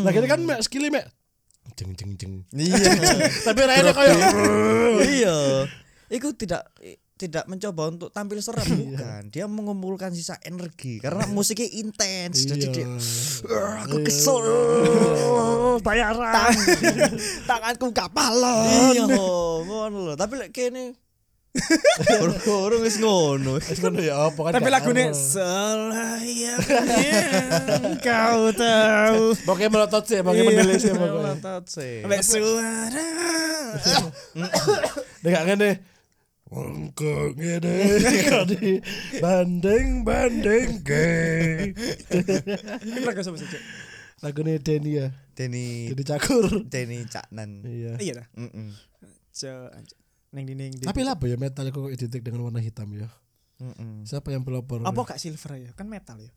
nah ini kan mek skillnya mek jeng jeng jeng
Iya. [laughs]
tapi rayanya kayak
iya. Iku tidak i- tidak mencoba untuk tampil serem bukan. Dia mengumpulkan sisa energi karena musiknya intens. Jadi dia "Wah, aku kesel. Oh,
Bayaran. [laughs] Tanganku kapalan.
Iya, ngono loh. Tapi lek kene Orang-orang wis [laughs] ngono.
Terus kan ya apa kan
Tapi
gak
lagunya
tahu.
Selayaknya Kau tahu
pokoknya melotot sih pokoknya
Iya.
mendelik sih pokoknya
Melotot sih.
Sampai suara
Dia gak ngene. Wongko ngene kadi banding banding ge.
Ini lagu sama sih Cuk?
Lagune Deni ya,
Deni
Deni Cakur.
Deni Caknan.
Iya.
Iya dah
Mm-mm.
Cuk. Neng di neng di
Tapi lah apa ya metal kok identik dengan warna hitam ya.
Mm-mm.
Siapa yang pelopor?
Apa gak silver ya? Kan metal ya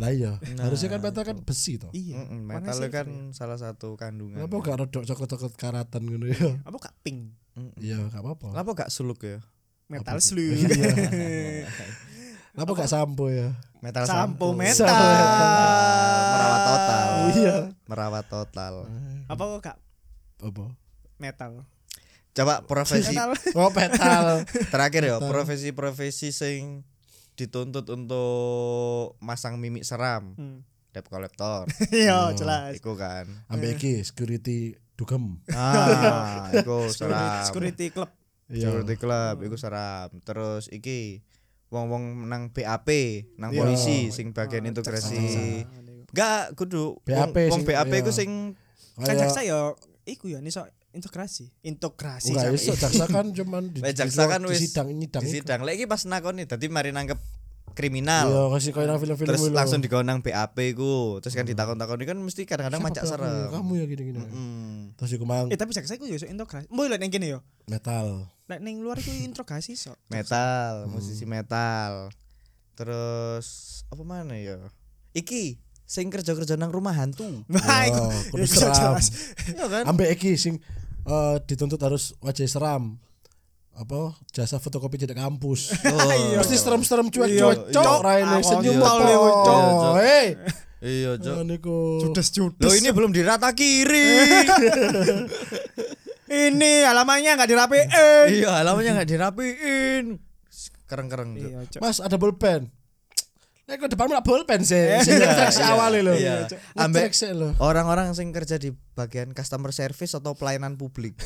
Lah iya. Harusnya kan metal kan besi toh.
Iya
Mm-mm,
Warna
Metal
silver
kan
ya.
salah satu kandungan. ya.
Kenapa gak rodok coklat-coklat karatan ngono ya?
Apa gak pink?
Mm-mm.
Iya, gak apa-apa.
Kenapa gak suluk ya?
Metal slug Iya.
Kenapa gak sampo ya?
Metal
Sampo metal
Sampo
merawat total.
Iya.
Merawat total.
[laughs]
Hmm.
Apa kok gak
Apa?
metal?
Coba profesi [laughs]
Metal
Oh, [laughs] petal.
terakhir ya, profesi-profesi sing dituntut untuk masang mimik seram.
Hmm.
Debt collector.
[laughs]
Iya
Ah,
jelas
[laughs] Iku kan.
Ambek iki security dugem.
Ah, iku seram. Iya.
Security club
Iya.
Security club
Hmm.
iku seram. Terus iki wong-wong nang BAP, nang
Iya.
polisi sing bagian
Ah,
integrasi. Enggak, kudu
BAP
wong, wong
sing-
BAP iku
iya.
sing
Kan
Kayak-
jaksa ya Iku ya ini so Integrasi Integrasi
Enggak
Cak.
iso jaksa kan cuman
[laughs]
di,
Lek jaksa
di-
kan
di
wis
sidang nyidang.
di sidang. Lek iki pas nakoni dadi mari nangkep
Iya,
kriminal.
kasih koyo nang film-film
terus
dulu.
langsung digonang BAP ku. Terus kan ditakon-takoni kan mesti kadang-kadang macak
Siapa pelakunya?
serem.
Kamu ya gini-gini.
Hmm.
Terus iku mang
Eh tapi jaksa iku ya so integrasi Mbak liat yang gini ya
metal.
Lek ning luar iku interogasi
[laughs]
sok.
Metal, musisi metal. Terus apa mana ya? Iki sing kerja-kerja nang rumah hantu.
Wah, iku
Oh,
ya
kudu
bisa
seram.
jelas.
Iya kan?
Ambek iki sing eh, dituntut harus wajah seram. Apa jasa fotokopi jadek kampus.
[laughs] Iya.
Mesti
Iya,
serem-serem cuek-cuek cok
iya.
raine
Awalnya
senyum
iya,
apa.
iya,
cok.
Hei.
Iya, Cok.
Niku.
Judes-judes.
Loh ini belum dirata kiri.
ini halamannya enggak dirapiin.
iya, halamannya nggak dirapiin. Kereng-kereng. Cok.
Iya, Cok.
Mas ada bolpen. Nek ke depan malah bolpen sih. Sing
Iya,
reaksi
iya,
awale lho.
iya.
Ambek
Ambek-
sih lho.
orang-orang yang kerja di bagian customer service atau pelayanan publik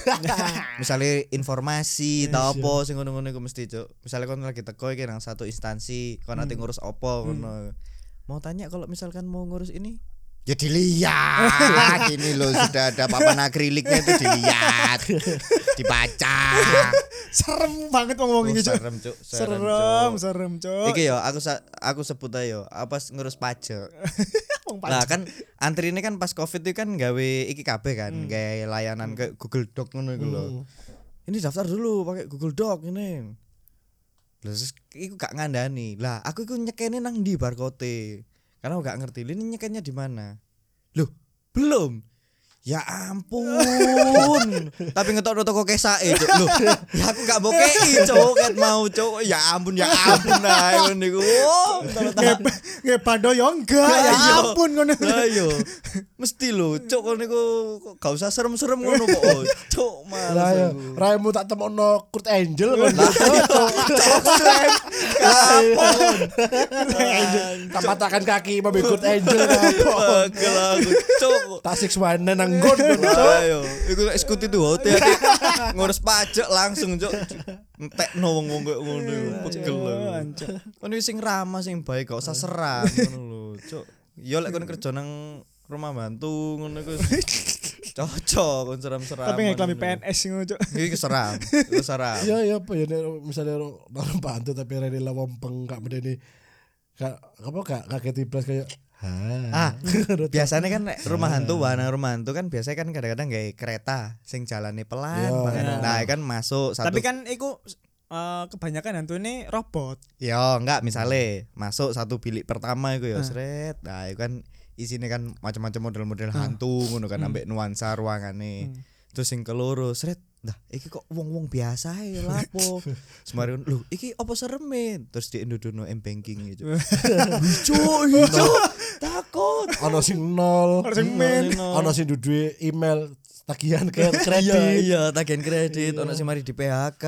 misalnya informasi atau apa sing ngono-ngono iku mesti cuk misalnya kon lagi teko iki nang satu instansi kon nanti ngurus apa ngono mau tanya kalau misalkan mau ngurus ini ya dilihat ini loh sudah ada papan akriliknya itu dilihat dibaca
Serem banget ngomong
Oh,
ini, Cok.
serem cuk serem,
gitu, Serem,
Cuk.
serem, Cok.
Iki yo aku sa- aku sebut ayo apa ngurus pajak
Wong
Lah
pajak.
kan antri ini kan pas Covid itu kan gawe iki kabeh kan, kayak layanan ke Google Doc ngono iku lho. Ini daftar dulu pakai Google Doc ini. Lah terus iku gak ngandani. Lah aku iku nyekene nang ndi barcode. Karena aku gak ngerti ini nyekennya di mana. Loh, belum. Ya ampun. Tapi ngetok toko kesake, Cuk. Loh, ya aku gak bokei, Cuk. Ket mau, Cuk. Ya ampun, ya ampun ae ngono niku. Oh, tak-
Nge- nge pando yo enggak ya
Ayo.
ampun ngono
Ayo. Mesti lho, Cuk ngono niku kok gak usah serem-serem ngono kok. Oh, Cuk,
Lah
males.
ya,
aku.
raimu tak temokno Kurt Angel kan. Kapon. Tak patahkan kaki babe Kurt Angel [laughs] kapon.
Pegel aku, Cuk.
Tak six one nang god.
Ayo, iku lek skuti tuh hati-hati ngurus pajak langsung, Cuk. Entekno wong-wong koyo ngono, iku. pegel aku.
Ancok.
Kan wis sing ramah sing baik gak usah serang ngono lho, Cuk. Ya lek kon kerja nang rumah bantu ngono
[laughs]
iku cocok kon seram-seram.
tapi nggak klami PNS ngono cok
Iki seram, iku seram.
Ya ya apa ya nek misalnya ro- orang bantu tapi rene lah wompeng gak medeni. Kak, apa kak kaget iblas kayak
Ah,
ha.
[laughs]
[laughs] biasanya kan nek rumah hantu,
Hmm.
wahana rumah hantu kan biasanya kan kadang-kadang kayak kereta sing jalannya pelan
Yo.
banget.
Iya.
Nah, kan masuk satu
tapi kan iku eh, kebanyakan hantu ini robot
Ya enggak misalnya masuk satu bilik pertama itu ya
Hmm.
seret. Nah, itu kan isinya kan macam-macam model-model
Hmm.
hantu ngono kan ambek nuansa ruangane. Terus sing keloro seret. Nah, iki kok wong-wong biasa
[laughs]
ya lapo. Semarin lho, iki apa sereme? Terus di Indodono m banking gitu.
[laughs]
Hijau, hijau. Takut.
Ono sing nol. Hmm.
Ono sing min.
Ono sing duwe email tagihan [laughs] ke
Iya,
kredit.
iya, tagihan kredit, ono sing mari di PHK.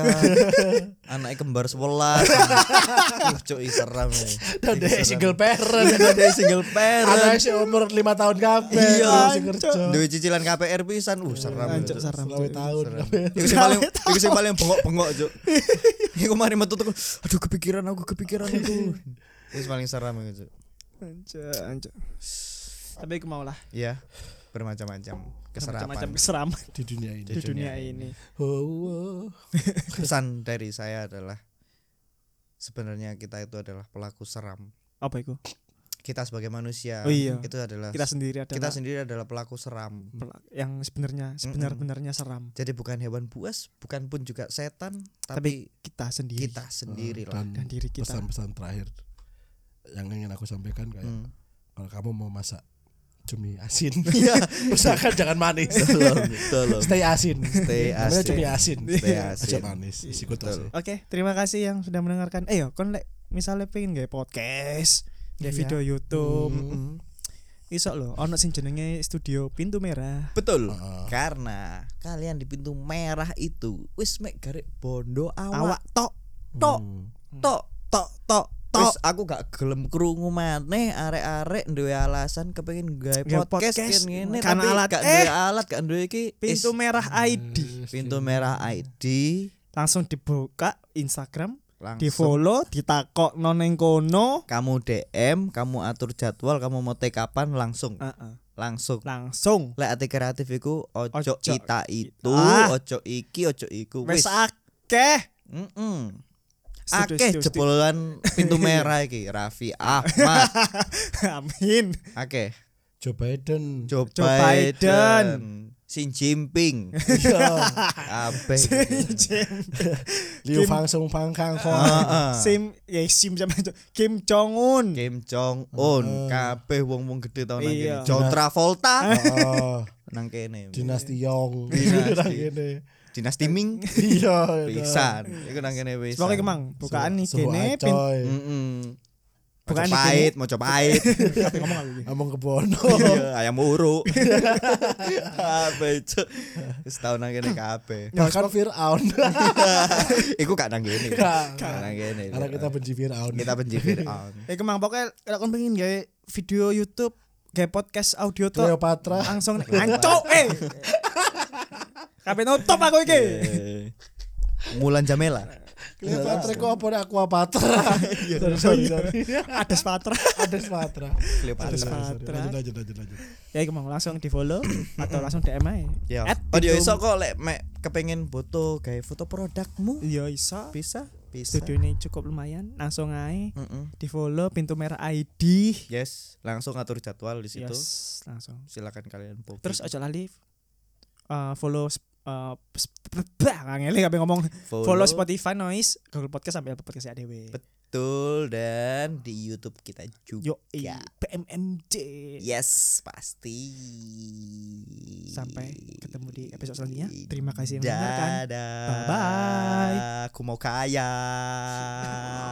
Anake kembar 11. Duh, cuk, ih, seram. ya.
Dan
Ih,
dia
seram.
single parent.
Ada [laughs] single parent.
Anaknya sih umur 5 tahun kabeh.
Iya,
sing kerja.
Duwe cicilan KPR pisan. Uh, seram.
Ancok,
Cuk.
seram
Selawe
Cuk.
tahun
Seram.
kabeh.
Iku sing paling iku sing paling bengok-bengok, Cuk. Iku mari metu tuku, aduh kepikiran aku, kepikiran aku. Wis paling seram iku, Cuk.
Ancok, ancok. tapi aku mau lah
Iya. Bermacam-macam keserapan.
macam-macam keseraman
di dunia ini.
di [laughs] dunia ini
Oh, oh.
Pesan dari saya adalah sebenarnya kita itu adalah pelaku seram.
apa itu
Kita sebagai manusia
Oh, iya.
itu adalah
kita sendiri adalah
kita sendiri adalah pelaku seram.
pel- yang sebenarnya sebenar-benarnya seram
Jadi bukan hewan buas, bukan pun juga setan, tapi,
tapi kita sendiri
kita sendiri lah.
Dan
dan diri kita
pesan-pesan terakhir yang ingin aku sampaikan kayak
Hmm.
kalau kamu mau masak cumi asin,
[laughs] Iya.
[laughs] usahakan jangan manis.
tolong [laughs] tolong
Stay asin.
Stay
Namanya
asin.
cumi asin. Iya,
Stay
Aja
Iya, asin.
manis. Isi kutu
Betul.
asin.
Oke, terima kasih yang sudah mendengarkan. Eh, yo, kon lek misalnya pengen gak podcast, gak
Iya.
video YouTube,
Mm-mm.
iso lo. Ono sing jenenge Studio Pintu Merah.
betul
Heeh.
Ah, karena kalian di pintu merah itu wis mek garek bondo awak
Awak tok.
tok
Hmm.
tok tok tok tok aku gak gelem krungu maneh arek-arek duwe alasan kepengin gawe
Gawe
podcast, kan
podcast.
ngene
Karena
tapi
alat.
gak
Eh.
duwe alat gak duwe iki Is, Mm.
Pintu Merah ID.
pintu merah ID
Langsung dibuka Instagram,
langsung
di follow, ditakok noneng kono.
kamu DM kamu atur jadwal kamu mau take kapan langsung
Heeh,
langsung
Langsung.
Lek ati kreatif iku ojo
Ojo
kita itu,
Ah.
ojo iki, ojo iku wis.
Wes akeh.
Mm-mm.
Studio-
Akeh
studio-
jebolan pintu merah iki Raffi Ahmad.
[laughs] [laughs] Amin.
[laughs] Akeh.
Joe Biden.
Joe,
Joe
Biden.
Biden.
Xi
[laughs]
Jinping.
Iya.
[laughs] Kabeh.
Liu
Kim-
Fang Sung Fang Kang Fong.
Heeh.
Sim, ya Sim sama Kim Jong Un.
Kim Jong Un, kabeh wong-wong gede tau nang
Ah. Iya.
kene. John
[laughs]
Travolta [laughs]
Oh,
nang kene.
Dinasti Yong.
Dinasti.
Nah, gini.
Dinasti Ming
Iya.
pisan. Iku nang kene pisan.
Semoga kemang bukaan nih
Suhu
kene pin-
acoy.
Heeh.
Bukan
Bukan
di
pahit, mau coba pahit.
Apa ngomong aku iki?
Ngomong ke
[laughs]
Bono.
Iya, ayam uru. Apa itu? Setahun nang kene
[laughs]
kabeh.
Bahkan Fir'aun.
Iku gak nang kene.
Gak.
Gak nang kene.
Karena kita benci Fir'aun.
Iya. kita benci Firaun.
Ya kemang pokoknya kalau kau pengen gawe video YouTube, gawe podcast audio tuh [laughs]
Cleopatra.
langsung nih ancok eh. Kabeh nutup aku iki.
Eh, [laughs] Mulan Jamela.
Cleopatra kok apa nih Aquapatra? Sorry, sorry,
[laughs]
sorry.
Iya.
Ada sepatra.
Ada Sumatera.
Cleopatra.
Sepatra.
Lanjut, lanjut, lanjut, lanjut.
Ya kemang langsung di follow atau langsung DM aja.
Ya.
At
Audio
Pitum.
iso kok lek mek kepengin foto gawe foto produkmu.
Iya iso.
Bisa, bisa.
Studio ini cukup lumayan, langsung aja
Mm-mm.
di follow pintu merah ID.
Yes, langsung atur jadwal di situ.
Yes, langsung.
Silakan kalian booking.
Terus ojo lali eh, follow eh, sp- bah, ngangeli kabeh ngomong follow Spotify Noise Google Podcast sampai Apple Podcast ya dewe.
Betul dan di YouTube kita juga.
Yo, iya. PMMJ.
Iya. Yes, pasti.
Sampai ketemu di episode selanjutnya. Terima kasih yang mendengarkan.
Dadah.
Bye-bye.
Aku mau kaya.
[laughs]